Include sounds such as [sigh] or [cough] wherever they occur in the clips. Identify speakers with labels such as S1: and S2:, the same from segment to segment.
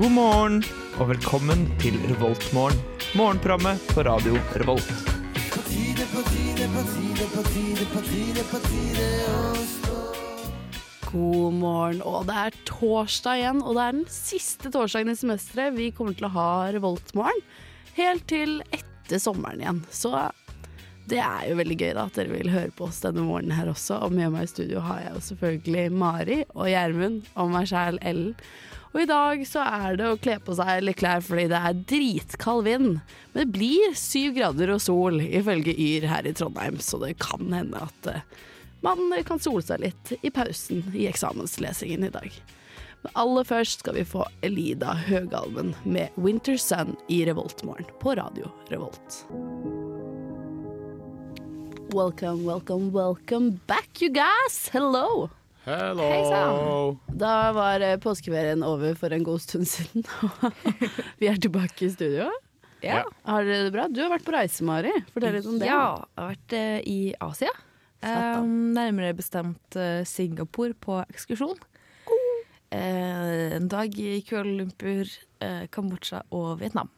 S1: God morgen og velkommen til Revoltmorgen. Morgenprogrammet på radio Revolt.
S2: God morgen, og det er torsdag igjen, og det er den siste torsdagen i semesteret vi kommer til å ha Revoltmorgen. Helt til etter sommeren igjen. Så det er jo veldig gøy da at dere vil høre på oss denne morgenen her også. Og med meg i studio har jeg jo selvfølgelig Mari og Gjermund og meg sjæl Ellen. Og i dag så er det å kle på seg litt klær fordi det er dritkald vind. Men det blir syv grader og sol ifølge Yr her i Trondheim, så det kan hende at eh, man kan sole seg litt i pausen i eksamenslesingen i dag. Men aller først skal vi få Elida Høgalven med 'Winter Sun' i Revoltmorgen på radio Revolt. Welcome, welcome, welcome back, you guys! Hello!
S3: Hello!
S4: Hei
S2: Da var eh, påskeferien over for en god stund siden, [laughs] og vi er tilbake i studio.
S4: Ja.
S2: Har dere det bra? Du har vært på reise, Mari. Fortell litt om det.
S4: Ja, jeg har vært eh, i Asia.
S2: Satan.
S4: Eh, nærmere bestemt eh, Singapore på ekskursjon. Eh, en dag i Kuala Lumpur, eh, Kambodsja og Vietnam.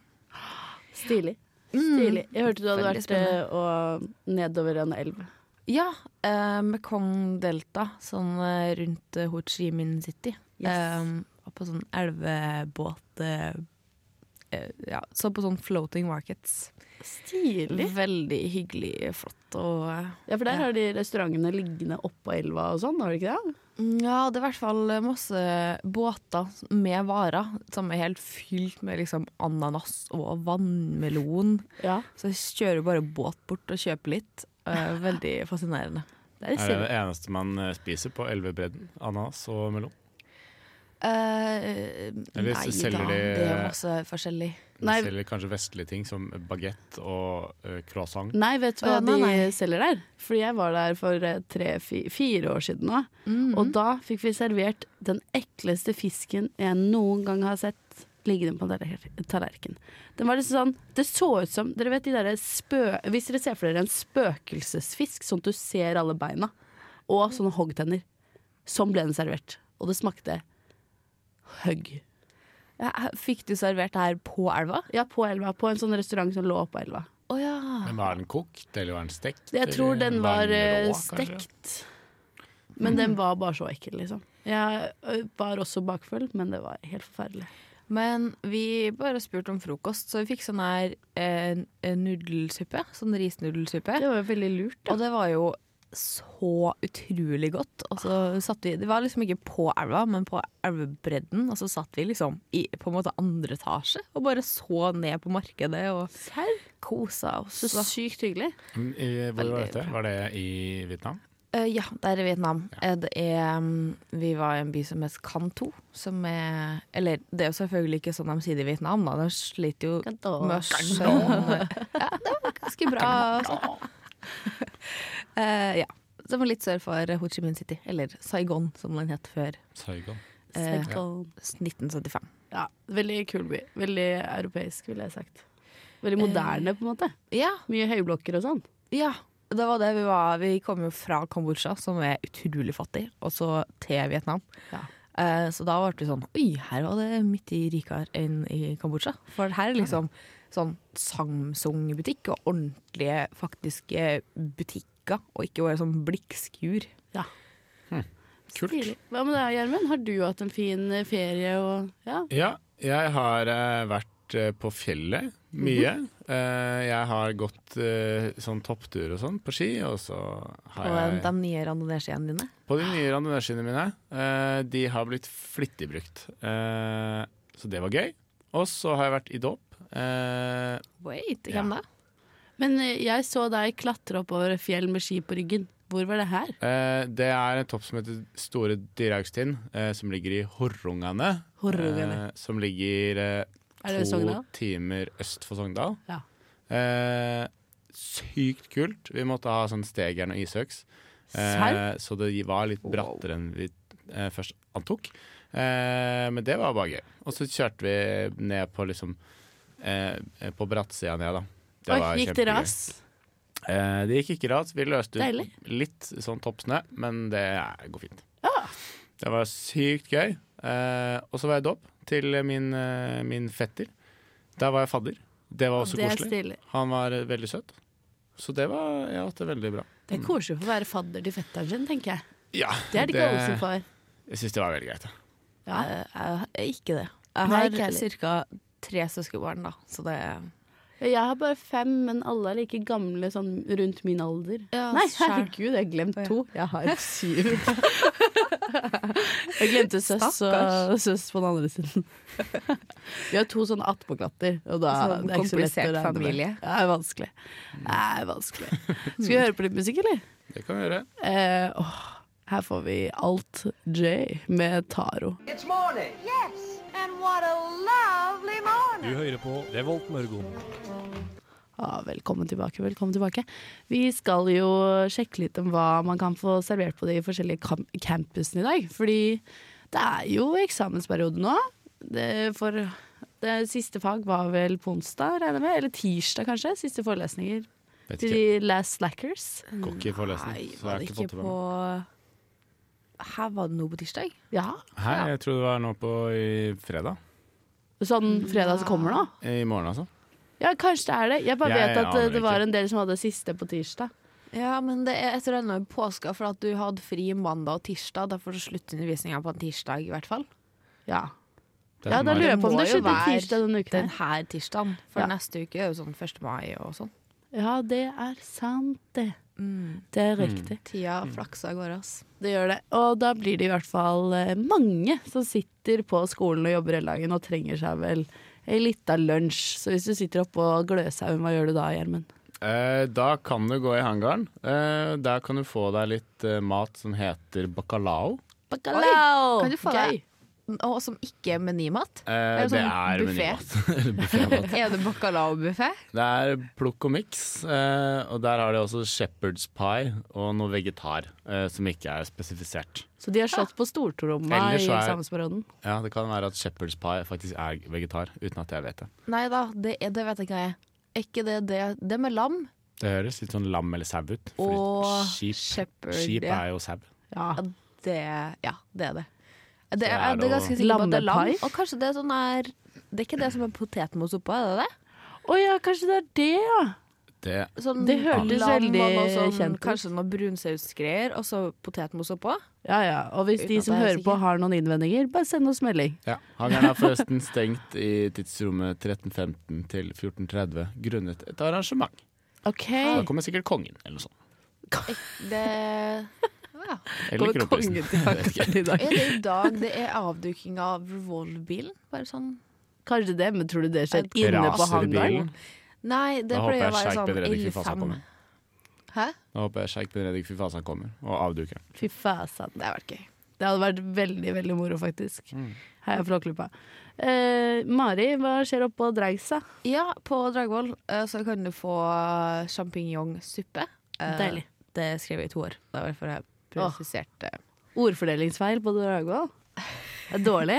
S2: Stilig. Stilig. Jeg hørte du hadde
S4: Mm. Veldig
S2: vært eh, og nedover en elv.
S4: Ja, eh, Mekong Delta, sånn eh, rundt eh, Ho Chi Minh City.
S2: Yes.
S4: Eh, var på sånn elvebåt eh, eh, Ja, så på sånn floating markets.
S2: Stilig.
S4: Veldig hyggelig, flott og eh,
S2: Ja, for der har de restaurantene liggende oppå elva og sånn, har de ikke det?
S4: Ja, det er i hvert fall masse båter med varer som er helt fylt med liksom ananas og vannmelon.
S2: Ja.
S4: Så jeg kjører bare båt bort og kjøper litt. [laughs] Eh, Veldig fascinerende. Det er litt
S3: Er det
S4: stilig.
S3: det eneste man eh, spiser på elvebredden? Ananas og melon?
S4: Eh,
S3: Eller
S4: nei
S3: selger
S4: da,
S3: de-
S4: det er masse forskjellig.
S3: De
S2: Nei.
S3: selger kanskje vestlige ting som bagett og eh, croissant.
S2: Nei, vet du hva
S4: Å, ja, nei, nei.
S2: de selger der? Fordi jeg var der for eh, tre, fi, fire år siden nå.
S4: Mm.
S2: Og da fikk vi servert den ekleste fisken jeg noen gang har sett liggende på en taller- tallerken. Den var liksom sånn Det så ut som Dere vet de derre spø... Hvis dere ser for dere en spøkelsesfisk, sånn at du ser alle beina, og sånne hoggtenner. Sånn ble den servert. Og det smakte høgg.
S4: Ja, eh, fikk du servert det her på elva?
S2: Ja, på elva. På en sånn restaurant som lå oppå elva.
S4: Å ja.
S3: Men var den kokt, eller var den stekt?
S2: Jeg tror
S3: eller
S2: den var
S3: rå,
S2: eh,
S3: kanskje?
S2: stekt. Men den var bare så ekkel, liksom. Jeg ø, var også bakfull, men det var helt forferdelig.
S4: Men vi bare spurte om frokost, så vi fikk sånn her eh, nudelsuppe. Sånn risnudelsuppe.
S2: Det var jo veldig lurt, da.
S4: Og det var jo så utrolig godt. Og så satt vi, det var liksom ikke på elva, men på elvebredden. Og så satt vi liksom i på en måte andre etasje og bare så ned på markedet og
S2: Serr?
S4: kosa oss.
S2: Så sykt hyggelig.
S3: Mm, i- Hvor var
S4: Veldig
S3: dette?
S4: bra.
S3: Var det i Vietnam?
S4: Eh, ja, der i Vietnam. Eh, Det er, mm, vi var i en by som het Kanto. Som er Eller det er jo selvfølgelig ikke sånn de sier det i Vietnam, da. De sliter jo med å skjønne [laughs] Ja, det var ganske bra. Altså. Eh, ja. Som var litt sør for Ho Chi Minh City, eller Saigon som den het før
S3: Saigon.
S4: eh,
S2: Saigon.
S4: 1975.
S2: Ja, veldig kul by. Veldig europeisk, ville jeg sagt. Veldig moderne, på en måte.
S4: Ja,
S2: Mye høyblokker og sånn.
S4: ja. Det var det vi var. Vi kom jo fra Kambodsja, som er utrolig fattig, og så til Vietnam.
S2: Ja.
S4: Eh, så da ble det sånn Oi, her var det midt i rikere enn i Kambodsja. For her er liksom sånn Samsung-butikk, og ordentlige, faktiske butikker. Og ikke bare sånn blikkskur.
S2: Ja.
S3: Kult.
S2: Stilig. Hva med deg, Gjermund? Har du hatt en fin eh, ferie og Ja.
S3: Ja, jeg har eh, vært eh, på fjellet mye.
S2: Mhm.
S3: Eh, jeg har gått eh, sånn topptur og sånn på ski, og så har
S4: Og
S3: jeg
S4: de nye randonee-skiene dine.
S3: På de nye randonee-skiene mine. eh, de har blitt flittig brukt. Eh, så det var gøy. Og så har jeg vært i dåp. Eh,
S4: Wait,
S3: hvem
S4: hvem
S3: Ja.
S4: da?
S2: Men eh, jeg så deg klatre oppover et fjell med ski på ryggen. Hvor var det her?
S3: eh, det er en topp som heter Store Dyrhaugstind, eh, som ligger i Horrungane.
S2: Horrungane.
S3: eh, som ligger eh,
S2: Er det ved
S3: to
S2: Sogndal?
S3: timer øst for Sogndal.
S2: Ja.
S3: Eh, sykt kult. Vi måtte ha sånn stegjern og ishøks. Eh,
S2: Serr?
S3: så det var litt brattere enn vi eh, først antok. Eh, men det var bare gøy. Og så kjørte vi ned på liksom eh, På brattsida ned, da. Det
S2: Oi,
S3: var
S2: gikk det
S3: kjempegøy.
S2: ras?
S3: Eh, det gikk ikke ras. Vi løste ut
S2: Deilig.
S3: litt sånn toppsnø, men det er- går eh, fint.
S2: Ja.
S3: Det var sykt gøy. Eh, og så var jeg i dåp til min, eh, min fetter. Der var jeg fadder. Det var også
S2: det er
S3: koselig.
S2: stilig.
S3: Han var eh, veldig søt. Så det var Jeg har hatt det veldig bra.
S2: Det er koselig å få være fadder til fetteren sin, tenker jeg.
S3: Ja,
S2: Det er det ikke alle som får.
S3: Jeg syns det var veldig greit. Ja.
S2: Ja.
S4: Jeg, jeg, ikke det.
S2: Nei,
S4: Jeg
S2: ikke
S4: har
S2: heller.
S4: ca. tre søskenbarn, da, så det
S2: Jeg har bare fem, men alle er like gamle sånn rundt min alder.
S4: Ja,
S2: Nei,
S4: skjær.
S2: herregud, jeg har glemt to.
S4: Jeg har syv.
S2: Jeg glemte søs og
S4: Stakkars.
S2: søs på den andre siden. [laughs] Vi har to sånne attpåklatter. Og da
S4: Sånn
S2: det er ikke så lett å
S4: komplisert
S2: regne med.
S4: familie.
S2: Ja, Det er vanskelig. Det er vanskelig. Skal vi høre på litt musikk, eller?
S3: Det kan vi gjøre.
S2: Eh, åh, her får vi Alt J med Taro.
S5: It's morning. Yes, and what a lovely morning.
S6: Du hører på Revolt Mørgon.
S2: Ja, velkommen tilbake, velkommen tilbake. Vi skal jo sjekke litt om hva man kan få servert på de forskjellige kam- campusene i dag. Fordi det er jo eksamensperiode nå. Det, for det siste fag var vel på onsdag, regner jeg med. Eller tirsdag, kanskje. Siste forelesninger
S3: Vet
S2: til
S3: ikke.
S2: de last slackers.
S3: Går ikke i
S4: Nei,
S3: forelesning. Så jeg
S4: var
S3: har
S4: det
S3: ikke
S4: ikke
S3: fått det med
S4: på
S3: meg.
S4: Her var det noe på tirsdag.
S2: Ja.
S3: Hei, jeg tror det var nå på i fredag.
S2: Sånn fredag som kommer nå.
S3: I morgen, altså.
S2: Ja, kanskje det er det. Jeg bare
S3: Jeg
S2: vet at
S3: aner
S2: eh, det var
S3: ikke.
S2: en del som hadde siste på tirsdag.
S4: Ja, men det er etter denne påska, for at du hadde fri mandag og tirsdag. Derfor slutter undervisninga på en tirsdag, i hvert fall.
S2: Ja,
S3: Det
S2: ja
S3: er
S2: da
S3: mai.
S2: lurer jeg på om
S4: må
S2: det
S4: jo
S2: skjedde
S4: være
S2: tirsdag denne uken. her.
S4: Den her tirsdagen. For
S2: Ja.
S4: neste uke er jo sånn 1. mai og sånn.
S2: Ja, det er sant, det. Det
S3: Mm.
S2: er riktig.
S4: Tida flakser av gårde, ass.
S2: Det gjør det. Og da blir det i hvert fall eh, mange som sitter på skolen og jobber hele dagen og trenger seg vel ei lita lunsj. Så hvis du sitter oppe og gløshaugen, hva gjør du da, Gjermund?
S3: Eh, da kan du gå i hangaren. Eh, der kan du få deg litt eh, mat som heter bacalao.
S2: Bacalao!
S4: Kan du få
S2: Gøy.
S4: deg Og som ikke er menymat?
S3: Eh,
S4: Det er jo
S3: det
S4: sånn
S3: er [laughs] menymat. Buffetmat.
S4: Er det bacalao-buffé?
S3: det er plukk og miks. Eh, og der har de også shepherd's pie og noe vegetar eh, som ikke er spesifisert.
S2: Så de har slått på stortromma
S3: Ellers
S2: i
S3: så er-
S2: eksamensperioden.
S3: Ja, Det kan være at shepherd's pie faktisk er vegetar, uten at jeg vet det.
S4: Nei da, det, er, det vet jeg ikke hva jeg er. Er ikke det det? Det med lam
S3: Det høres litt sånn lam eller sau ut. fordi
S4: og
S3: skip,
S4: shepherd.
S3: skip
S4: ja.
S3: er jo sau.
S2: Ja.
S4: Ja, det, ja, det er det. Det
S3: er
S4: er, det
S3: det
S4: er
S3: jo-
S4: ganske sikkert på at det er lam.
S2: Lammepai?
S4: Og kanskje det er sånn her Det er ikke det som er potetmos oppå, er det det?
S2: Å ja, kanskje det er det, ja.
S3: Det,
S4: Sånn
S2: Det hørtes
S4: lam og
S2: veldig
S4: noe sånn,
S2: kjent ut.
S4: Kanskje noe brunsausgreier, og så potetmos oppå.
S2: Ja ja. Og hvis
S4: Uten
S2: de
S4: at
S2: som
S4: jeg er
S2: hører på
S4: sikker.
S2: har noen innvendinger, bare send oss melding.
S3: ja. Hangaren [laughs] er forresten stengt i tidsrommet 13.15 til 14.30 grunnet et arrangement.
S2: OK.
S3: Da [laughs] kommer sikkert kongen eller noe sånt.
S4: Det
S3: Eller
S2: Kommer
S3: kronprinsen.
S2: kongen tilbake i dag?
S4: er det i dag det er avduking av revolverbilen. Bare sånn
S2: Kanskje det, men tror du det skjer
S4: Jeg
S2: inne på
S3: Raser i
S2: hangaren?
S3: bilen.
S4: Nei, det
S3: Da håper
S4: pleier å
S3: jeg
S4: være
S3: Sjeik
S4: sånn
S3: Ben Reddik fy faen
S4: ild-fem.
S3: kommer.
S4: Hæ?
S3: Da håper jeg Sjeik Ben Reddik fy faen kommer og avduker den.
S2: Fy fasan, det hadde vært gøy. Det hadde vært veldig veldig moro, faktisk. Heia Flåklypa. Eh, Mari, hva skjer oppå Dreigsa?
S4: Ja, på Dragvoll eh, så kan du få sjampinjongsuppe. Eh,
S2: Deilig.
S4: Det skrev jeg i to år. Det var derfor jeg
S2: Åh.
S4: presiserte
S2: Ordfordelingsfeil på Dragvoll? Det er dårlig.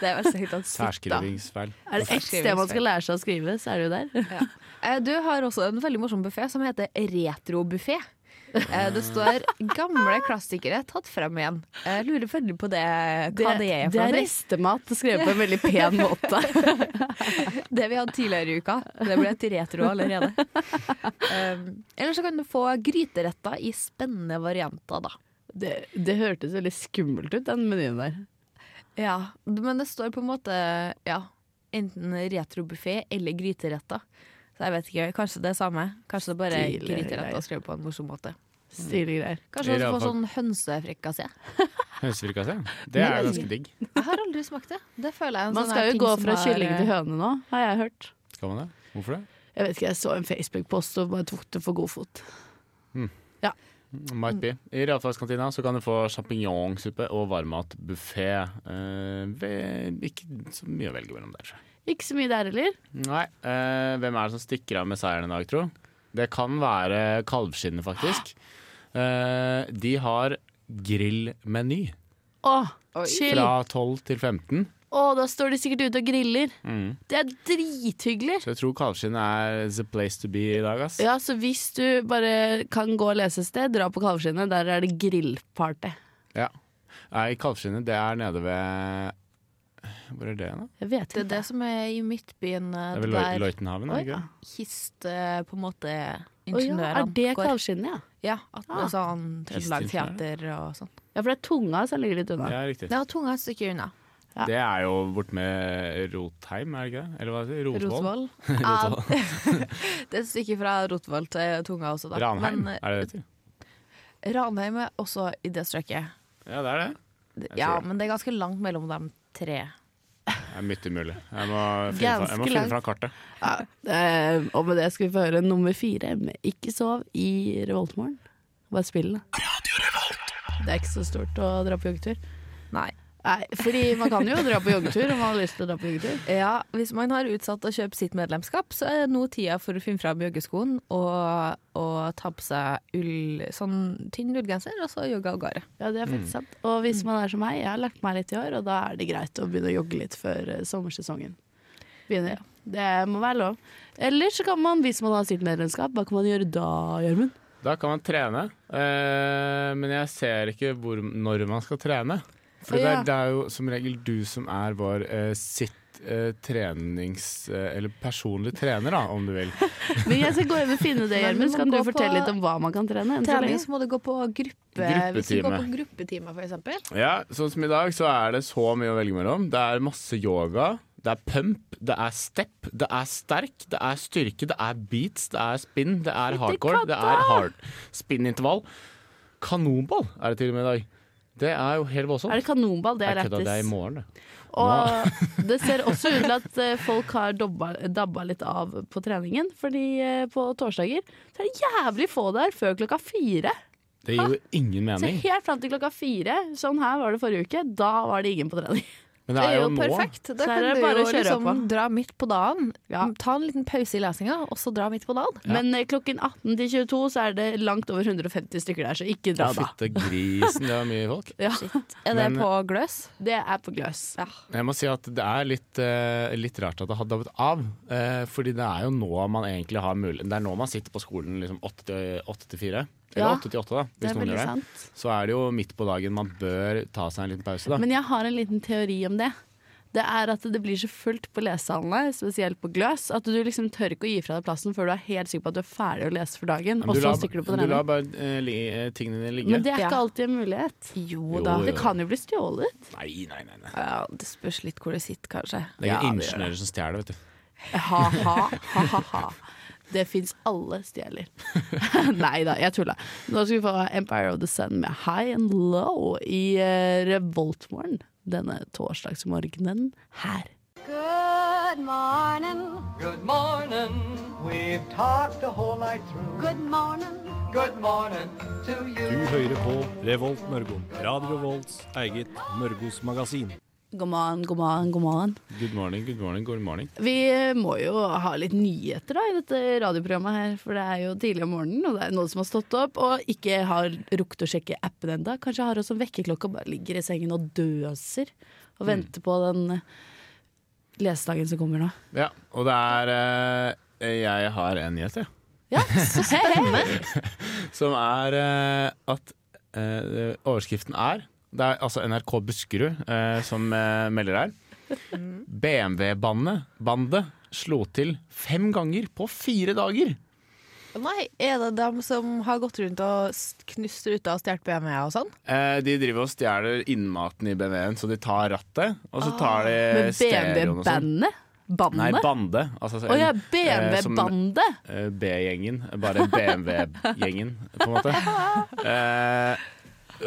S4: Det er vel sikkert at sitta.
S3: Særskrivingsfeil.
S2: Er
S4: [laughs]
S2: det ett sted man skal lære seg å skrive, så er det jo der.
S4: Eh, Du har også en veldig morsom buffé som heter retrobuffé. Eh, Det står 'gamle klassikere tatt frem igjen'. Jeg lurer veldig på det, hva det, er for
S2: det
S4: noe.
S2: er restemat skrevet på en veldig
S4: [laughs]
S2: pen måte.
S4: Det vi hadde tidligere i uka. Det ble til retro allerede. [laughs] Um, Eller så kan du få gryteretter i spennende varianter, da.
S2: Det, det hørtes veldig skummelt ut, den menyen der.
S4: Ja, Men det står på en måte ja, enten retrobuffé eller gryteretter. Så jeg vet ikke, Kanskje det er samme. Kanskje det er bare
S2: Stilig greier.
S4: gryteretter skrevet på en morsom måte.
S2: Stilige greier.
S4: Kanskje
S3: I
S4: også
S3: hvert
S4: få
S3: fall-
S4: sånn hønsefrikassé.
S3: Hønsefrikassé. Det er jo ganske digg.
S4: Jeg har aldri smakt det. Det føler jeg er en
S2: Man
S4: sånn
S2: skal
S4: her
S2: jo
S4: ting
S2: gå
S4: som
S2: fra
S4: har-
S2: kylling til høne nå, har jeg hørt.
S3: Skal man det? Hvorfor det?
S2: eh, Jeg vet ikke, jeg så en Facebook-post og bare tok det for god fot.
S3: Might be. I realfagskantina så kan du få sjampinjongsuppe og varmmatbuffé. Eh, ve- ikke så mye å velge mellom der, tror jeg.
S2: Ikke så mye der heller.
S3: Nei. Eh, hvem er det som stikker av med seieren i dag, tro? Det kan være kalvskinnet, faktisk. Eh, de har grillmeny
S2: Å,
S4: Oi.
S2: chill!
S3: fra 12 til 15.
S2: Å, da står de sikkert ute og griller.
S3: Mm.
S2: Det er drithyggelig.
S3: Så jeg tror kalvskinnet er the place to be i dag, ass.
S2: Ja, så hvis du bare kan gå og lese et sted, dra på Kalvskinnet. Der er det grillparty.
S3: Ja. Nei, Kalvskinnet, det er nede ved Hvor er det, da?
S2: Jeg vet
S4: Det
S2: ikke.
S4: er det som er i Midtbyen. eh,
S3: Det er ved Loi-
S4: der
S3: Løitenhaven, er det ikke det?
S4: kiste, på en måte,
S2: Å ja,
S4: ingeniørene
S2: er det
S4: går.
S2: kalvskinnet, ja?
S4: Ja, at det
S2: Ah.
S4: er sånn Trøndelag
S3: Kiste-ingeniør.
S4: Teater og sånn.
S2: Ja, for det er tunga som ligger litt unna.
S3: Ja, riktig.
S4: Det har tunga et stykke unna.
S2: Ja.
S3: Det er jo bortmed Rotheim, er det ikke det? Eller hva heter det? Rotvoll?
S4: Rotvoll. Ja, [laughs] det er et stykke fra Rotvoll til tunga også, da.
S3: Ranheim,
S4: Men eh,
S3: er det det heter?
S4: Ranheim er også i det strøket.
S3: Ja, det er det. tror
S4: Ja,
S3: det.
S4: men det er ganske langt mellom dem tre.
S3: Det er midt umulig. Jeg må finne, fra, jeg
S2: Ganske
S3: må finne
S2: langt.
S3: fram kartet.
S2: Eh, og med det skal vi få høre nummer fire med Ikke sov i Revoltmorgen. Bare spill den, da. Det er ikke så stort å dra på joggetur.
S4: Nei.
S2: Nei, fordi man kan jo dra på joggetur om man har lyst til å dra på joggetur.
S4: Ja, hvis man har utsatt å kjøpe sitt medlemskap, så er nå tida for å finne fram joggeskoen og, og ta på seg ull, sånn tynn ullgenser, og så jogge av gårde.
S2: Ja, det er faktisk sant. Og hvis man er som meg, jeg har lagt meg litt i år, og da er det greit å begynne å jogge litt før eh, sommersesongen begynner. Det må være lov. Eller så kan man, hvis man har sitt medlemskap, hva kan man gjøre da, Gjermund?
S3: Da kan man trene, eh, men jeg ser ikke hvor, når man skal trene. For
S2: Å,
S3: det,
S2: ja.
S3: er, det er jo som regel du som er vår eh, sitt eh, trenings... eh, eller personlig trener, da, om du vil.
S2: Men jeg skal gå hjem og [laughs] finne det,
S4: Men
S2: Gjermund, så
S4: man
S2: kan du
S4: går på
S2: fortelle litt om hva man kan trene. enn så
S4: Trening
S2: lenge.
S4: så må du gå på gruppe, hvis du går på gruppetime, for eksempel.
S3: Ja, sånn som i dag så er det så mye å velge mellom. Det er masse yoga, det er pump, det er step, det er sterk, det er styrke, det er beats, det er spin, det er hardcore, det er hard spin-intervall. Kanonball er det til og med i dag. Det er jo helt voldsomt.
S2: Er det kanonball? Det er
S3: Jeg kødda, det er i
S2: lættis.
S3: morgen, det.
S2: Og det ser også ut til at eh, folk har dobba, dabba litt av på treningen. Fordi eh, på torsdager så er det jævlig få der før klokka fire.
S3: Det gir jo ingen
S2: Så
S3: mening.
S2: helt fram til klokka fire, sånn her var det forrige uke, da var det ingen på trening.
S3: Men
S4: Det er jo
S3: nå.
S4: perfekt. Da
S2: Så er
S4: kan
S2: det
S4: du
S2: bare
S4: jo
S2: å kjøre
S4: liksom
S2: på.
S4: dra midt på dagen.
S2: Ja.
S4: Ta en liten pause i lesinga, og så dra midt på dagen.
S2: Men eh, klokken 18 til 22 så er det langt over 150 stykker der, så ikke
S3: Å,
S2: dra da.
S3: fytte grisen, det var mye folk.
S2: Ja,
S4: Er det
S3: Men-
S4: på gløs?
S2: det er på gløs.
S3: Jeg må si at det er litt, eh, litt rart at det har dabbet av. Eh, fordi det er jo nå man egentlig har mulighet Det er nå man sitter på skolen liksom åtte til- åtte til fire. Eller
S2: Ja,
S3: åtte til åtte, da.
S2: Det
S3: Hvis
S2: er
S3: noen
S2: veldig
S3: gjør det.
S2: sant.
S3: Så er det jo midt på dagen man bør ta seg en liten pause, da.
S2: Men jeg har en liten teori om det. Det er at det blir så fullt på lesesalene, spesielt på gløs, at du liksom tør ikke å gi fra deg plassen før du er helt sikker på at du er ferdig å lese for dagen,
S3: Men
S2: og
S3: du
S2: så
S3: lar-
S2: stikker du på
S3: Du lar
S2: trening.
S3: bare eh, li, eh, tingene dine ligge.
S2: Men det er ikke
S4: Ja.
S2: alltid en mulighet.
S4: Jo
S3: Jo,
S4: da.
S3: jo.
S2: Det kan jo bli stjålet.
S3: Nei, nei, nei. nei.
S4: Ja, det spørs litt hvor du sitter, kanskje.
S3: Det er
S2: Ja,
S3: ikke
S2: det gjør
S3: ingeniører som stjeler, vet du.
S2: Ha-ha, ha-ha. Det fins alle stjeler. [laughs] Nei da, jeg tulla. Nå skal vi få Empire of the Sun med High and Low i eh, Revoltmorgen denne torsdagsmorgenen her.
S5: Good morning.
S7: Good morning. We've talked the whole night through.
S5: Good morning.
S7: Good morning to you.
S6: Du hører på Revolt Mørgon. Radio Revolts eget Mørgos magasin.
S2: God morgen, god morgen, god morgen.
S3: Good morning, good morning, good morning.
S2: Vi må jo ha litt nyheter da, i dette radioprogrammet her, for det er jo tidlig om morgenen, og det er noen som har stått opp og ikke har rukket å sjekke appen enda. Kanskje har oss som vekkerklokke og bare ligger i sengen og døser og venter på den eh, lesedagen som kommer nå.
S3: Ja, og det er eh, Jeg har en nyhet, jeg.
S2: [laughs] Ja, så spennende!
S3: Som er eh, at eh, overskriften er Det er altså NRK Buskerud eh, som eh, melder her. BMW-bandet bandet slo til fem ganger på fire dager!
S4: Nei, er det dem som har gått rundt og s- knust ruta og stjålet BMW-er og sånn?
S3: Eh, de driver og stjeler innmaten i BMW-en, så de tar rattet, og så tar de
S2: Ah, Men
S3: Eh, stereoen og sånn.
S2: BMW-bandet?
S3: Nei,
S2: Bandet?
S3: bande. Altså,
S2: Å ja,
S3: eh, som-
S2: BMW-bandet!
S3: eh, B-gjengen, bare BMW-gjengen, på en måte. Eh,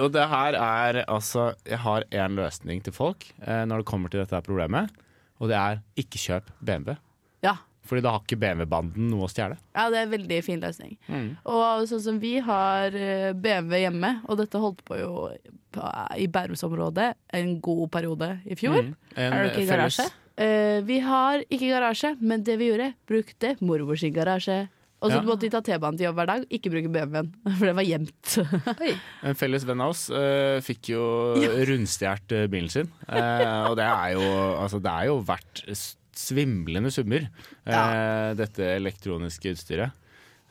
S3: og det her er altså Jeg har én løsning til folk eh, når det kommer til dette her problemet, og det er ikke kjøp BMW.
S2: Ja.
S3: Fordi da har ikke BMW-banden noe å stjele.
S2: Ja, det er en veldig fin løsning.
S3: Mm.
S2: Og sånn som vi har eh, BMW hjemme, og dette holdt på jo på- i Bærumsområdet en god periode i fjor.
S3: Mm. En
S4: Er det ikke i
S3: felles-
S4: garasje?
S2: Eh, vi har ikke garasje, men det vi gjorde, brukte mormor sin garasje. Og så
S3: Ja.
S2: måtte vi ta T-banen til jobb hver dag, ikke bruke BMW-en, [laughs] for den var gjemt.
S3: En felles venn av oss eh, fikk jo rundstjålet eh, bilen sin. Eh, og det er jo Altså, det er jo verdt s- svimlende summer, eh, dette elektroniske utstyret.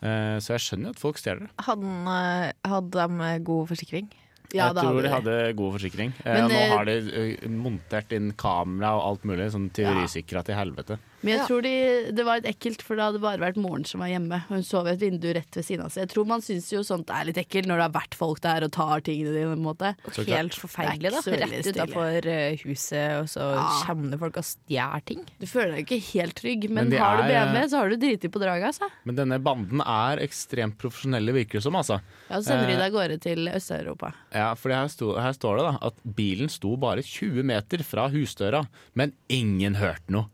S3: Eh, så jeg skjønner at folk stjeler det.
S4: Hadde, han, eh, hadde de god forsikring?
S2: Ja,
S3: jeg
S2: det
S3: tror de
S2: hadde de.
S3: hadde god forsikring. Eh,
S2: Men,
S3: nå
S2: eh,
S3: har de eh, montert inn kamera og alt mulig, sånn tyverisikra til helvete.
S2: Men jeg
S4: Ja.
S2: tror de, det var litt ekkelt, for det hadde bare vært moren som var hjemme. Hun sov i et vindu rett ved siden av seg. Jeg tror man syns jo sånt er litt ekkelt når det har vært folk der og tar tingene dine. på en måte.
S4: Helt forferdelig, da.
S2: Det er ikke så veldig
S4: Rett utafor eh, huset, og så kommer det folk og stjeler ting.
S2: Du føler deg ikke helt trygg, men,
S3: Men de
S2: har du
S3: er, eh,
S2: BMW, så har du driti på draget, altså.
S3: Men denne banden er ekstremt profesjonelle, virker det som. altså
S2: Ja, så sender de deg av gårde til Øst-Europa.
S3: Ja, for her, sto, her står det da at bilen sto bare 20 meter fra husdøra, men ingen hørte noe.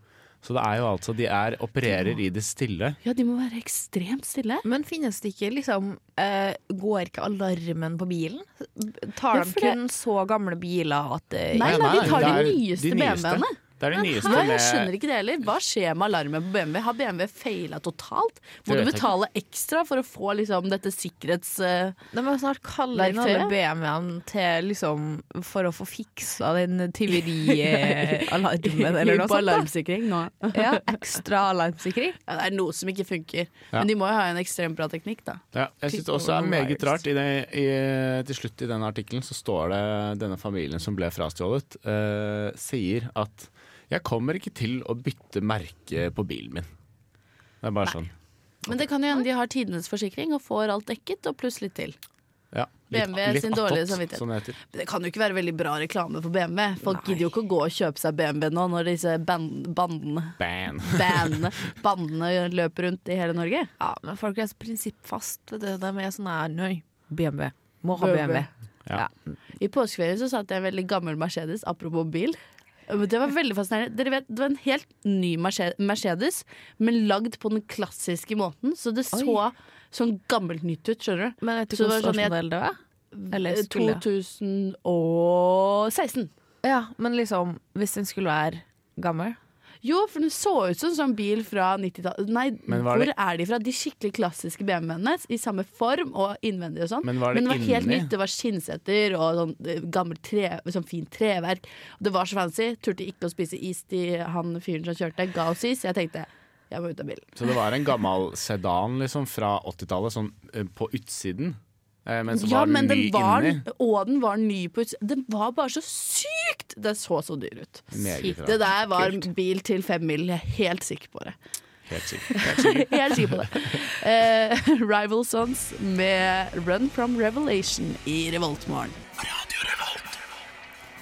S3: Så det er jo altså, de er opererer i det stille.
S2: Ja, de må være ekstremt stille.
S4: Men finnes det ikke liksom eh, Går ikke alarmen på bilen? Tar
S2: Ja,
S4: de
S2: for det-
S4: kun så gamle biler at eh,
S2: Nei, nei, de tar
S3: det
S2: de
S3: er
S2: nyeste BMW-ene.
S3: Det er de nyeste
S2: Nei, jeg skjønner
S3: med
S2: ikke det heller. Hva skjer med alarmen på BMW? Har BMW feila totalt? Må
S3: Det
S2: du
S3: vet jeg
S2: betale ekstra for å få liksom, dette sikkerhets... eh,
S4: De må snart kalle inn
S2: Verktøyet?
S4: alle BMW-ene til liksom For å få fiksa den
S2: [laughs]
S4: tyverialarmen eller
S2: Lurer på
S4: noe sånt.
S2: alarmsikring nå.
S4: Da. [laughs] Ja, ekstra alarmsikring.
S2: Ja, det er noe som ikke funker.
S3: Ja.
S2: Men de må jo ha en ekstremt bra teknikk, da.
S3: ja, Jeg syns det også er meget rart. I det, i, til slutt i den artikkelen så står det denne familien som ble frastjålet, eh, sier at 'jeg kommer ikke til å bytte merke på bilen min'. Det er bare sånn.
S2: Men det kan jo hende de har tidenes forsikring og får alt dekket, og pluss litt til.
S3: Ja,
S2: BMW sin
S3: attåt,
S2: dårlige samvittighet.
S3: Som det heter.
S2: Men det kan jo ikke være veldig bra reklame for BMW. Folk gidder jo ikke å gå og kjøpe seg BMW nå når disse ban- bandene
S3: Ban.
S2: bandene, bandene løper rundt i hele Norge.
S4: Ja, men folk er så prinsippfast. vet du. De er sånn her Nei, BMW. Må ha
S2: BMW.
S4: BMW.
S3: Ja.
S2: I påskeferien så satt jeg i en veldig gammel Mercedes, apropos bil. Men Det var veldig fascinerende. Dere vet, Det var en helt ny Merce- Mercedes, men lagd på den klassiske måten. Så det så sånn gammelt nytt ut, skjønner du. Eh,
S4: Men vet du
S2: Så det var
S4: hvilken
S2: sånn jeg-
S4: årsmodell det var? Eller skulle?
S2: 2016.
S4: Ja, men liksom, hvis den skulle være gammel
S2: Jo, for den så ut som en sånn bil fra 90-tallet. Nei,
S3: Men var
S2: hvor
S3: det-
S2: er de fra? De skikkelig klassiske BMW-ene. I samme form og innvendig og sånn.
S3: Men var det
S2: var helt
S3: inni?
S2: nytt. Det var skinnseter og sånn eh, gammelt tre, sånn fint treverk. Og det var så fancy. Turte ikke å spise is til han fyren som kjørte. Ga oss is. Jeg tenkte jeg må ut av bilen.
S3: Så det var en gammel sedan liksom, fra 80-tallet, sånn eh, på utsiden. Eh, men så
S2: Ja,
S3: var den
S2: men den
S3: ny
S2: var,
S3: inni.
S2: og den var ny på utsiden. Den var bare så sykt! Den så så dyr ut.
S3: Meget bra.
S2: Det der var
S3: Kult.
S2: bil til fem mil. Jeg er helt sikker på det. [laughs]
S3: Helt sikkert.
S2: Jeg er sikker på det. Eh, Rival Sons med Run From Revelation i Revoltmorgen.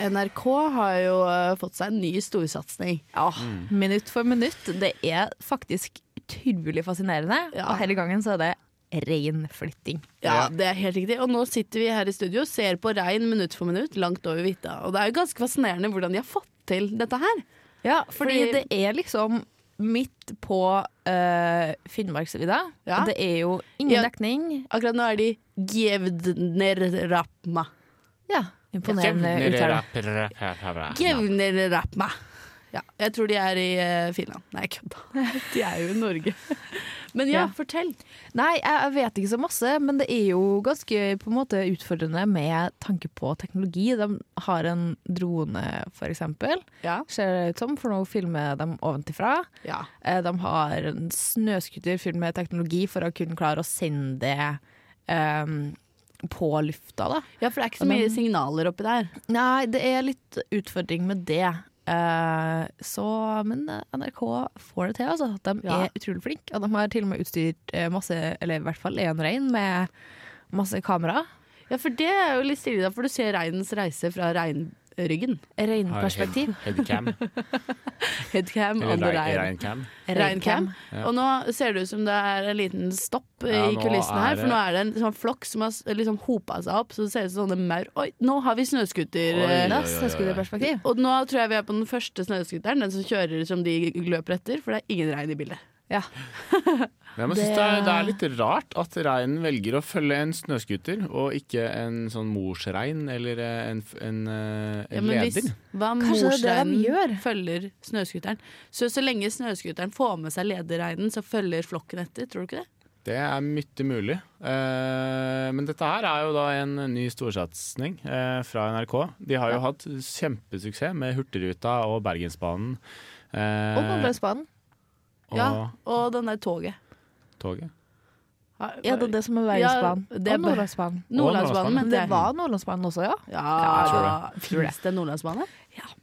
S2: NRK har jo eh, fått seg en ny storsatsing.
S4: Ja, minutt for minutt. Det er faktisk utrolig fascinerende.
S2: Ja.
S4: Og hele gangen så er det ren flytting.
S2: Ja, det er helt riktig. Og nå sitter vi her i studio og ser på regn minutt for minutt, langt over vidda. Og det er jo ganske fascinerende hvordan de har fått til dette her.
S4: Ja, fordi,
S2: Fordi-
S4: det er liksom midt på uh, Finnmarksvidda.
S2: Ja.
S4: Det er jo ingen
S2: Ja.
S4: dekning.
S2: Akkurat nå er de Gjevnerrapma.
S4: Ja, imponerende uttale.
S2: Gjevnerrapma. Ja, jeg tror de er i eh, Finland. Nei, kødda. De er jo i Norge. Men ja,
S4: Ja.
S2: fortell.
S4: Nei, jeg jeg vet ikke så masse, men det er jo ganske på en måte utfordrende med tanke på teknologi. De har en drone, for eksempel,
S2: Ja.
S4: ser det ut som, for nå filmer de oventifra.
S2: ja.
S4: Eh, De har en snøskuter fylt med teknologi for å kunne klare å sende det ehm, på lufta, da.
S2: Ja, for det er ikke
S4: Og
S2: så mye
S4: den-
S2: signaler oppi der.
S4: Nei, det er litt utfordring med det. Eh, så, men eh, NRK får det til, altså. De
S2: Ja.
S4: er utrolig flinke. Og de har til og med utstyrt eh, masse, eller i hvert fall én rein, med masse kamera.
S2: Ja, for det er jo litt stilig, da, for du ser reinens reise fra reinryggen.
S4: Reinperspektiv.
S2: [laughs]
S3: Headcam.
S2: Headcam on the
S3: Eller rein-
S2: rein.
S3: reincam.
S2: Reincam. Og nå ser det ut som det er en liten stopp
S3: Ja,
S2: i
S3: nå
S2: kulissene
S3: er
S2: her, for
S3: det-
S2: nå er det en sånn flokk som har s- liksom hopa seg opp, så det ser ut som sånne maur. Oi, nå har vi snøskuter.
S3: Oi,
S2: eh,
S3: oi,
S4: Ja,
S3: oi, oi.
S4: Snøskuterperspektiv.
S2: Og nå tror jeg vi er på den første snøskuteren, den som kjører som de løper etter, for det er ingen rein i bildet.
S4: Ja.
S3: Men jeg må synes det, er, det er litt rart at reinen velger å følge en snøskuter, og ikke en sånn morsrein eller eh, en, f- en, eh, en
S2: men
S3: leder.
S2: hva
S4: Kanskje det er det de
S2: morsreinen
S4: gjør?
S2: følger snøskuteren Så så lenge snøskuteren får med seg lederreinen, så følger flokken etter, tror du ikke det?
S3: Det er mye mulig. Eh, men dette her er jo da en ny storsatsing eh, fra NRK. De har jo hatt kjempesuksess med Hurtigruta og Bergensbanen. eh,
S4: Og Nordlandsbanen.
S3: og
S2: Ja, og den der toget.
S3: toget.
S4: Ja, det er det som er Bergensbanen.
S2: Ja, det er
S4: og
S2: Ber-
S4: Nordlandsbanen.
S2: Nordlandsbanen,
S4: Men
S2: mente
S4: det
S2: jeg.
S4: var Nordlandsbanen også, ja.
S2: Ja, Fins det Nordlandsbane?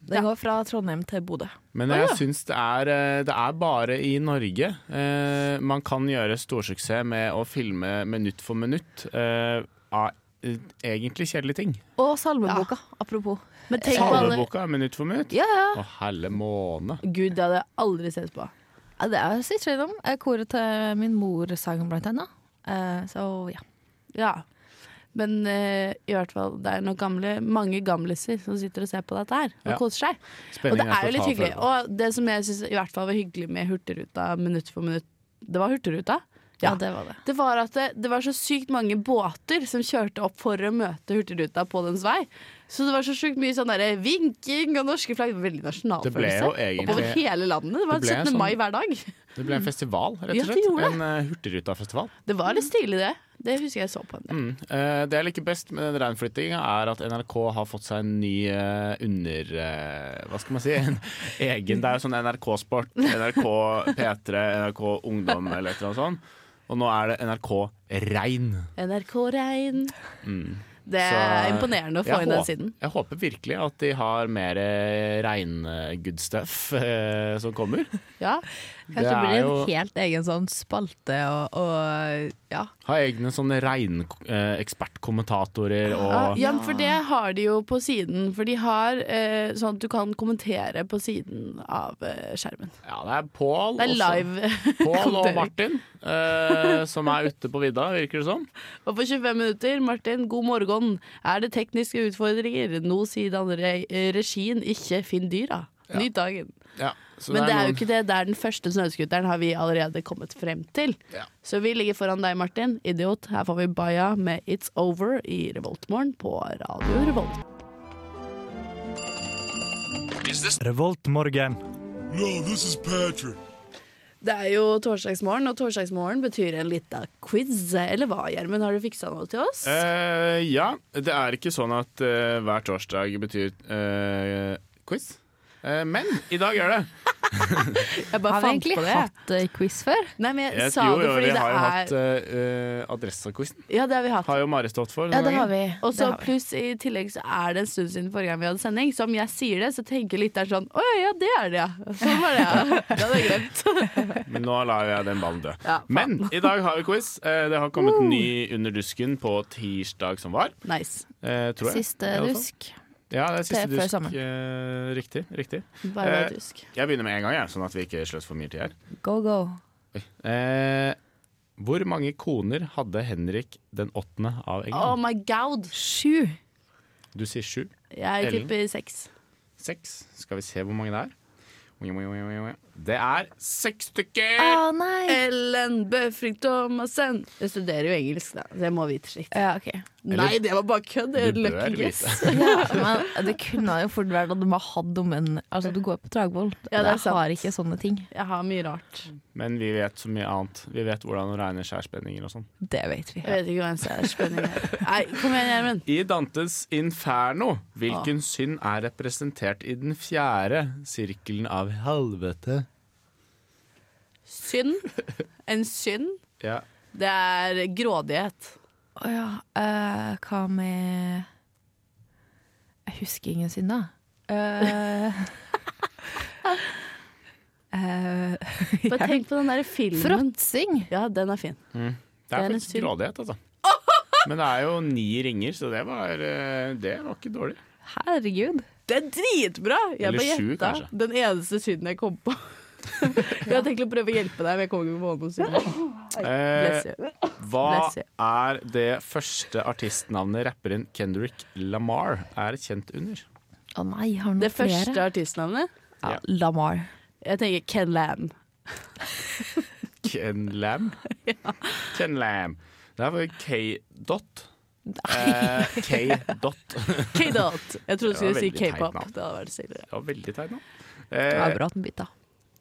S4: Den går fra Trondheim til Bodø.
S3: Men jeg syns det er eh, Det er bare i Norge eh, man kan gjøre storsuksess med å filme minutt for minutt eh, av eh, egentlig kjedelige ting.
S4: Og salmeboka, apropos.
S2: Men tenk på alle
S3: Salmeboka er minutt for minutt.
S4: Ja, ja.
S3: Å, helle måne.
S2: Gud, det hadde jeg aldri sett på.
S4: Ja, Det er sitt skjedd om. Eh, Koret til min mor sang blant annet. Eh, Så ja.
S2: Ja. Men eh, i hvert fall, det er noen gamle, mange gamliser som sitter og ser på dette her og
S3: Ja.
S2: koser seg. Og det
S3: Spenningen
S2: er jo litt
S3: total
S2: hyggelig.
S3: for det.
S2: Og det som jeg syns i hvert fall var hyggelig med Hurtigruta minutt for minutt Det var Hurtigruta.
S4: ja, det var det.
S2: Det var at det, det var så sykt mange båter som kjørte opp for å møte Hurtigruta på dens vei. Så det var så sykt mye sånn derre vinking og norske flagg. Veldig
S3: Det ble jo
S2: nasjonalfølelse.
S3: egentlig-
S2: Oppover hele landet. Det var
S3: Det ble
S2: 17.
S3: en sånn-
S2: mai hver dag. [laughs]
S3: Det ble en festival, rett
S2: Ja, det
S3: og slett.
S2: gjorde det.
S3: En uh, Hurtigrutafestival.
S2: Det var litt stilig, det. Det husker jeg så på en del.
S3: Mm. Eh, det jeg liker best med den reinflyttinga, er at NRK har fått seg en ny eh, under... eh, hva skal man si? [laughs] En egen Det er jo sånn NRK Sport, NRK P3, NRK Ungdom eller et eller annet sånt. Og nå er det NRK Rein.
S2: NRK Rein. Det
S3: Så,
S2: er imponerende å få
S3: jeg
S2: inn den
S3: håp-
S2: siden.
S3: Jeg håper virkelig at de har mer eh, rein-good stuff eh, som
S2: [laughs]
S3: kommer.
S2: Ja.
S4: Kanskje det
S3: er
S4: blir en
S3: jo-
S4: helt egen sånn spalte og, og ja.
S3: Ha egne sånne rein-ekspertkommentatorer
S2: Ja,
S3: og
S2: ja, for det har de jo på siden. For de har eh, sånn at du kan kommentere på siden av eh, skjermen.
S3: Ja, det er Pål.
S2: Det er
S3: og så-
S2: live. [laughs]
S3: Pål og
S2: kommentering.
S3: Martin, eh, som er ute på vidda, virker det som.
S2: Og på 25 minutter, Martin, god morgen. Er det tekniske utfordringer? Nå sier den re regien ikke finn dyra. Nyt dagen.
S3: Ja, så
S2: Men det er jo
S3: noen-
S2: ikke det. Det er den første snøscooteren har vi allerede kommet frem til.
S3: Ja.
S2: Så vi ligger foran deg, Martin. Idiot. Her får vi Baya med It's Over i Revoltmorgen på Radio Revolt.
S1: Revoltmorgen.
S2: Det er jo torsdagsmorgen, og torsdagsmorgen betyr en lita quiz. Eller hva, Gjermund? Har du fiksa noe til oss?
S3: Eh, ja, det er ikke sånn at eh, hver torsdag betyr eh, quiz. Eh, men i dag gjør det.
S2: jeg bare
S4: Har vi
S2: fant
S4: egentlig
S2: på det.
S4: hatt eh, quiz før?
S2: Nei, men jeg,
S3: Jeg,
S2: sa
S3: jo,
S2: det
S3: jo,
S2: fordi
S3: vi
S2: det
S3: har jo hatt
S2: er
S3: uh, Adressa-quizen.
S2: Ja, det har vi hatt.
S3: Har jo Mari stått for.
S4: Ja,
S3: noen
S4: det har
S3: ganger.
S4: vi.
S2: Og
S4: Det
S2: så
S4: har vi.
S2: pluss i tillegg så er det en stund siden forrige gang vi hadde sending. Så om jeg sier det, så tenker litt der sånn Å ja, ja, det er det, ja. [laughs] Sånn var det, ja. Det hadde jeg glemt.
S3: Men nå lar jeg den ballen dø.
S2: Ja, faen.
S3: men i dag har vi quiz. Eh, det har kommet ny Under dusken på tirsdag som var.
S2: Nice.
S3: eh, tror jeg.
S4: Siste
S3: i alle fall.
S4: rusk.
S3: Ja, det er siste
S4: Til før
S3: dusk.
S4: sommeren.
S3: eh, riktig. riktig
S2: Bare
S3: Eh,
S2: dusk.
S3: Jeg begynner med en gang, jeg, sånn at vi ikke sløser for mye tid her.
S4: Go, go.
S3: Eh, hvor mange koner hadde Henrik den åttende
S2: Oh
S3: av England?
S2: my god.
S4: Sju.
S3: Du sier sju.
S2: Jeg
S3: Ellen.
S2: tipper seks.
S3: Seks. Skal vi se hvor mange det er? Oi, oi, oi, oi, oi. Det er seks stykker!
S4: Å
S2: Ah.
S4: Ah, nei!
S2: Ellen Bøfring Thomassen. Jeg studerer jo engelsk, da. Det må vite sitt.
S4: Ja, [laughs] ok.
S2: Nei, det var bare kødd. Det er
S3: Du bør
S2: Lucky guess.
S4: Ja, men det kunne jo fort vært at du bare hadde om en Altså, du går på Dragvoll.
S2: Ja, det er
S4: Jeg har ikke sånne ting.
S2: Jeg har mye rart.
S3: Men vi vet så mye annet. Vi vet hvordan å regne skjærspenninger og sånn.
S4: Det vet vi.
S2: Jeg vet ikke hva en særspenning er. Nei, kom igjen, Gjermund.
S3: I Dantes Inferno,
S2: Ah.
S3: hvilken synd er representert i den fjerde sirkelen av helvete?
S2: Synd. En synd,
S3: Ja.
S2: det er grådighet.
S4: Å ja. eh, hva med Jeg husker ingen synd, da. Eh, [laughs] eh, [laughs]
S2: Bare tenk på den der filmen.
S4: Fråtsing!
S2: Ja, den er fin.
S3: Det
S2: Det er
S3: er
S2: en
S3: faktisk
S2: synd. [laughs]
S3: grådighet, altså. Men det er jo ni ringer, så det var, eh, det var ikke dårlig.
S4: Herregud.
S2: Det er dritbra! Jeg
S3: Eller
S2: bare
S3: sju,
S2: gjetta.
S3: kanskje.
S2: Den eneste synden jeg kom på. [laughs] jeg har tenkt å prøve å hjelpe deg, men jeg kommer ikke på noen synd.
S3: Eh,
S2: Bless you.
S3: Hva
S2: Bless you.
S3: er det første artistnavnet rapperen Kendrick Lamar er kjent under?
S4: Å nei, har han
S2: Det
S4: noen flere?
S2: første artistnavnet
S4: ja, Lamar.
S2: Jeg tenker Ken Lam.
S3: Ken
S2: [laughs]
S3: Lam? Ken Lam. Det er faktisk K-dot. Eh, K-dot.
S2: K-Dot. Jeg trodde du
S3: Det
S2: skulle
S3: var
S2: si
S3: veldig teit
S2: k-pop.
S3: navn.
S2: Det hadde vært stilig.
S3: Det var veldig teit navn.
S4: Det var
S3: Eh,
S4: bra at den bytta.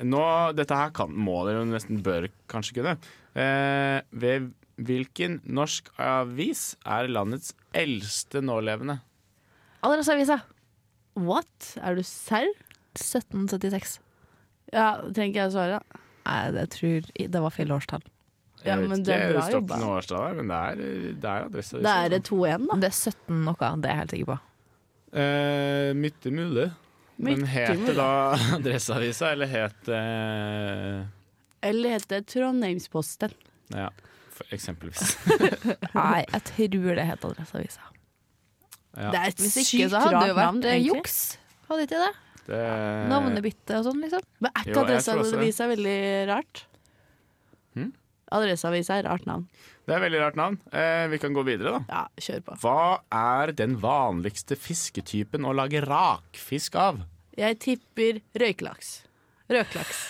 S3: nå, dette her kan, må dere jo nesten bør kanskje kunne. Eh, ved hvilken norsk avis er landets eldste nålevende?
S4: Adresseavisa.
S2: What? Er du serr?
S4: 1776.
S2: Ja, trenger ikke jeg å svare. da.
S4: Nei, det tror det var feil årstall.
S2: Ja,
S3: Jeg vet
S2: men
S3: ikke,
S2: det er bra
S3: jeg står ikke
S2: jobba.
S3: noe årstall her, men det er, det er sånn. adresse.
S2: Da er det 2-1, da.
S4: Det er 17 noe, det er jeg helt sikker
S2: [laughs]
S4: på.
S3: Eh, Mytte mulig. Men
S2: Mytte
S3: het
S2: mulig.
S3: det da [laughs] Adresseavisa, eller het det
S2: Eller heter det Trondheimsposten?
S3: Ja, for eksempelvis.
S2: [laughs]
S4: Nei, jeg tror det het Adresseavisa.
S3: Ja.
S2: Det er et
S4: Hvis ikke
S2: sykt
S4: så hadde det
S2: rart
S4: jo vært
S2: navn,
S4: eh,
S2: egentlig.
S4: juks. Hadde ikke det?
S3: Det, Eh.
S4: Navnebytte og sånn, liksom.
S2: Men er
S3: Jo,
S2: ikke
S3: jeg tror også det. Hm?
S2: Adresseavisa veldig rart? Adresseavisa er rart navn.
S3: det er veldig rart navn. Eh, vi kan gå videre, da.
S2: Ja, kjør på.
S3: Hva er den vanligste fisketypen å lage rakfisk av?
S2: Jeg tipper røykelaks. Røkelaks.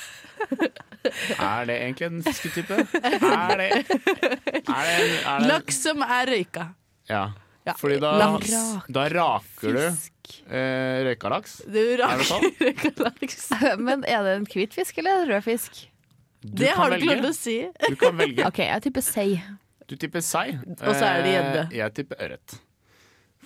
S3: Er det egentlig en fisketype? Er det, er det, en, er det
S2: Laks som er røyka.
S3: Ja.
S2: Ja,
S3: Fordi da,
S2: laks.
S3: da raker du eh, røyka laks.
S2: Du
S3: Er det
S2: raker
S3: sånn?
S2: [laughs] røykelaks.
S4: [laughs] Men er det en hvit fisk eller en rød fisk?
S3: Du
S2: Det
S3: kan
S2: har du ikke
S3: velge.
S2: lov til å si.
S3: Du kan velge.
S4: OK, jeg tipper sei.
S3: Du tipper sei.
S2: Og så er det gjedde.
S3: Eh, Jeg tipper ørret.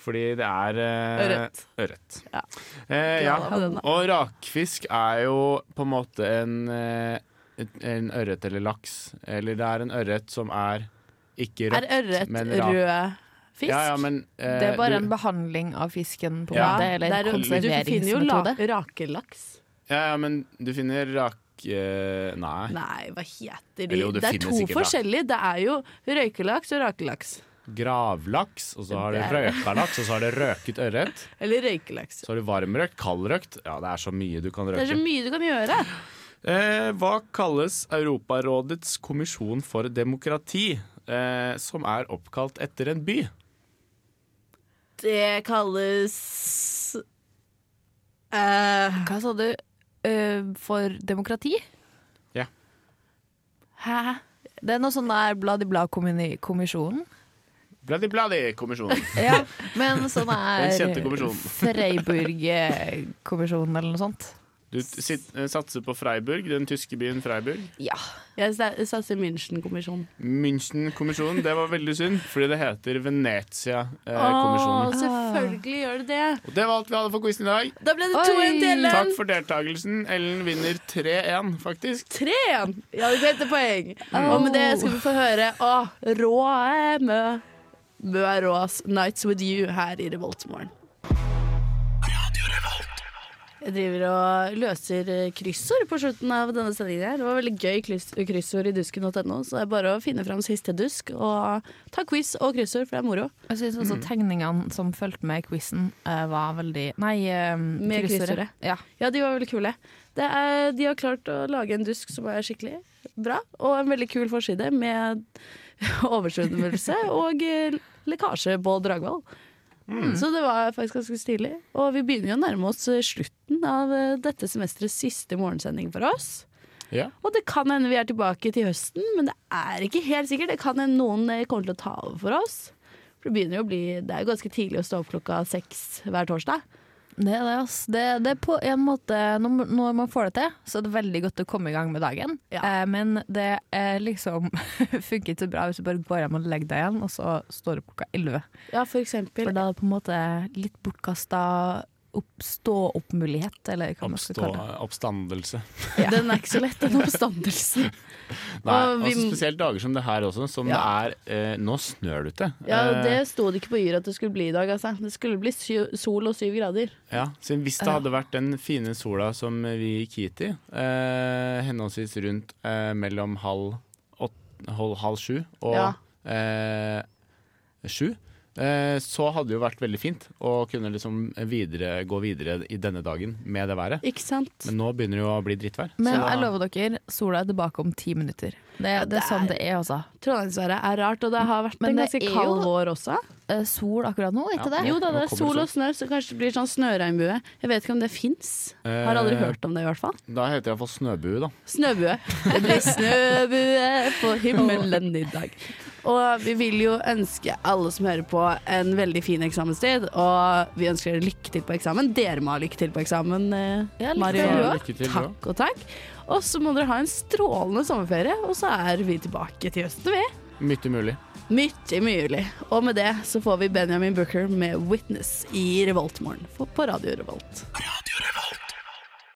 S3: Fordi det er eh,
S2: Ørret.
S3: ørret.
S2: Ja.
S3: Eh, ja.
S2: Ja, den da.
S3: Og rakfisk er jo på en måte en, eh, en ørret eller laks. Eller det er en ørret som er ikke
S2: Er
S3: rødt,
S2: ørret
S3: men
S2: rød fisk?
S3: Ja, ja, men, eh,
S4: Det er bare
S3: du-
S4: en behandling av fisken, på en
S3: Ja,
S4: måte.
S2: det
S4: Eller
S2: er rød- Du finner jo la
S4: konserveringsmetode.
S2: rakelaks.
S3: Ja, ja, men du finner rak... eh, nei.
S2: Nei, hva heter de?
S3: Eller jo, det
S2: det er
S3: finnes
S2: to
S3: sikkert, da.
S2: forskjellige. Det er jo røykelaks og rakelaks.
S3: Gravlaks, og så har du røkalaks, og så har du røket ørret.
S2: Eller røykelaks.
S3: Så har du varmrøkt, kaldrøkt. Ja, det er så mye du kan
S2: Det er
S3: røke.
S2: så mye du kan gjøre.
S3: Eh, hva kalles Europarådets kommisjon for demokrati, eh, som er oppkalt etter en by?
S2: Det kalles eh,
S4: Hva sa du? Eh, for demokrati?
S2: Hæ?
S4: Det er noe sånn der bladi-blad-kommisjonen.
S3: Bladi-bladi-kommisjonen.
S4: Ja, men sånn er
S3: [laughs] Den kjente kommisjonen.
S4: Freiburg-kommisjonen eller noe sånt.
S2: [laughs]
S3: Du t- sit, eh, satser på Freiburg, den tyske byen Freiburg.
S4: Ja.
S2: Jeg sa- satser München-kommisjonen.
S3: München-kommisjonen, det var veldig synd, fordi det heter
S2: Å,
S3: Venezia-kommisjonen.
S2: selvfølgelig gjør det det.
S3: Og det var alt vi hadde for quizen i dag.
S2: Da ble det
S4: Oi.
S2: 2-1 til
S3: Takk
S2: Ellen.
S3: for deltakelsen. Ellen vinner 3-1, faktisk.
S2: 3-1. Ja, det er et poeng. Og med det skal vi få høre Å, rå er Mø. Mø er rå, ass. Nights with you her i Revoltmorgen. Jeg driver og løser eh, kryssord på slutten av denne sendingen. her. Det var veldig gøy kryss- kryssord i dusken.no, så det er bare å finne fram siste dusk og ta quiz og kryssord, for det er moro.
S4: Jeg syns også
S3: Mm.
S4: tegningene som fulgte med quizen, var veldig Nei, eh,
S2: Med kryssordet.
S4: Ja.
S2: Ja, de var veldig kule. Det er, de har klart å lage en dusk som er skikkelig bra, og en veldig kul forside med [laughs] oversvømmelse og eh, lekkasje på Dragvoll. Så det var faktisk ganske stilig. Og vi begynner jo å nærme oss eh, slutten av eh, dette semesterets siste morgensending for oss.
S3: Ja.
S2: Og det kan hende vi er tilbake til høsten, men det er ikke helt sikkert. Det kan hende noen eh, kommer til å ta over for oss. For det, begynner jo å bli, det er jo ganske tidlig å stå opp klokka seks hver torsdag.
S4: Det er det, ass. Det, det er på en måte når, når man får det til, så er det veldig godt å komme i gang med dagen.
S2: Ja.
S4: Eh, men det er liksom [laughs] funker ikke så bra hvis du bare går hjem og legger deg igjen, og så står du opp klokka elleve.
S2: Ja, for eksempel.
S4: For da er det på en måte litt bortkasta stå-opp-mulighet, eller hva man skal
S3: Oppstå,
S4: kalle det.
S3: oppstandelse.
S2: [laughs] Den er ikke så lett, den oppstandelsen.
S3: Nei,
S2: Og vi-
S3: også spesielt dager som det her også, som det er eh, Nå snør det ute.
S2: [laughs] Ja,
S3: Eh,
S2: Det sto det ikke på Yr at det skulle bli i dag. Altså. Det skulle bli sy sol og syv grader.
S3: ja. Så hvis det hadde vært den fine sola som vi gikk hit i, eh, henholdsvis rundt eh, mellom halv, åt, halv, halv sju og
S2: Ja.
S3: eh, sju, eh, så hadde det jo vært veldig fint å kunne liksom videre, gå videre i denne dagen med det været.
S2: Ikke sant?
S3: Men nå begynner det jo å bli drittvær.
S4: Men
S3: så da-
S4: jeg lover dere, sola er tilbake om ti minutter. Det, det er sånn det er, altså.
S2: Trondheimsværet er rart, og det har vært
S4: Men
S2: en
S4: det
S2: ganske
S4: er jo-
S2: kald vår også.
S4: Eh, Sol akkurat nå, er ikke
S3: Ja.
S4: det?
S2: Jo da,
S3: nå
S2: det er
S3: kommer
S2: sol
S3: det
S2: og snø, så kanskje det blir sånn snøregnbue. Jeg vet ikke om det fins.
S3: Eh,
S2: Har aldri hørt om det, i hvert fall.
S3: Da heter det iallfall snøbue, da.
S2: Snøbue. Det blir snøbue på himmelen i dag. Og vi vil jo ønske alle som hører på, en veldig fin eksamenstid. Og vi ønsker dere lykke til på eksamen. Dere må ha lykke til på eksamen, eh,
S4: Ja, lykke
S2: Mari
S4: til,
S2: og
S4: du
S3: også. Lykke til, du
S2: Takk og takk. Og så må dere ha en strålende sommerferie, og så er vi tilbake til høsten, vi.
S3: Mye mulig.
S2: Mye mulig. Og med det så får vi Benjamin Booker med 'Witness' i Revoltmorgen på Radio Revolt.
S3: Radio Revolt.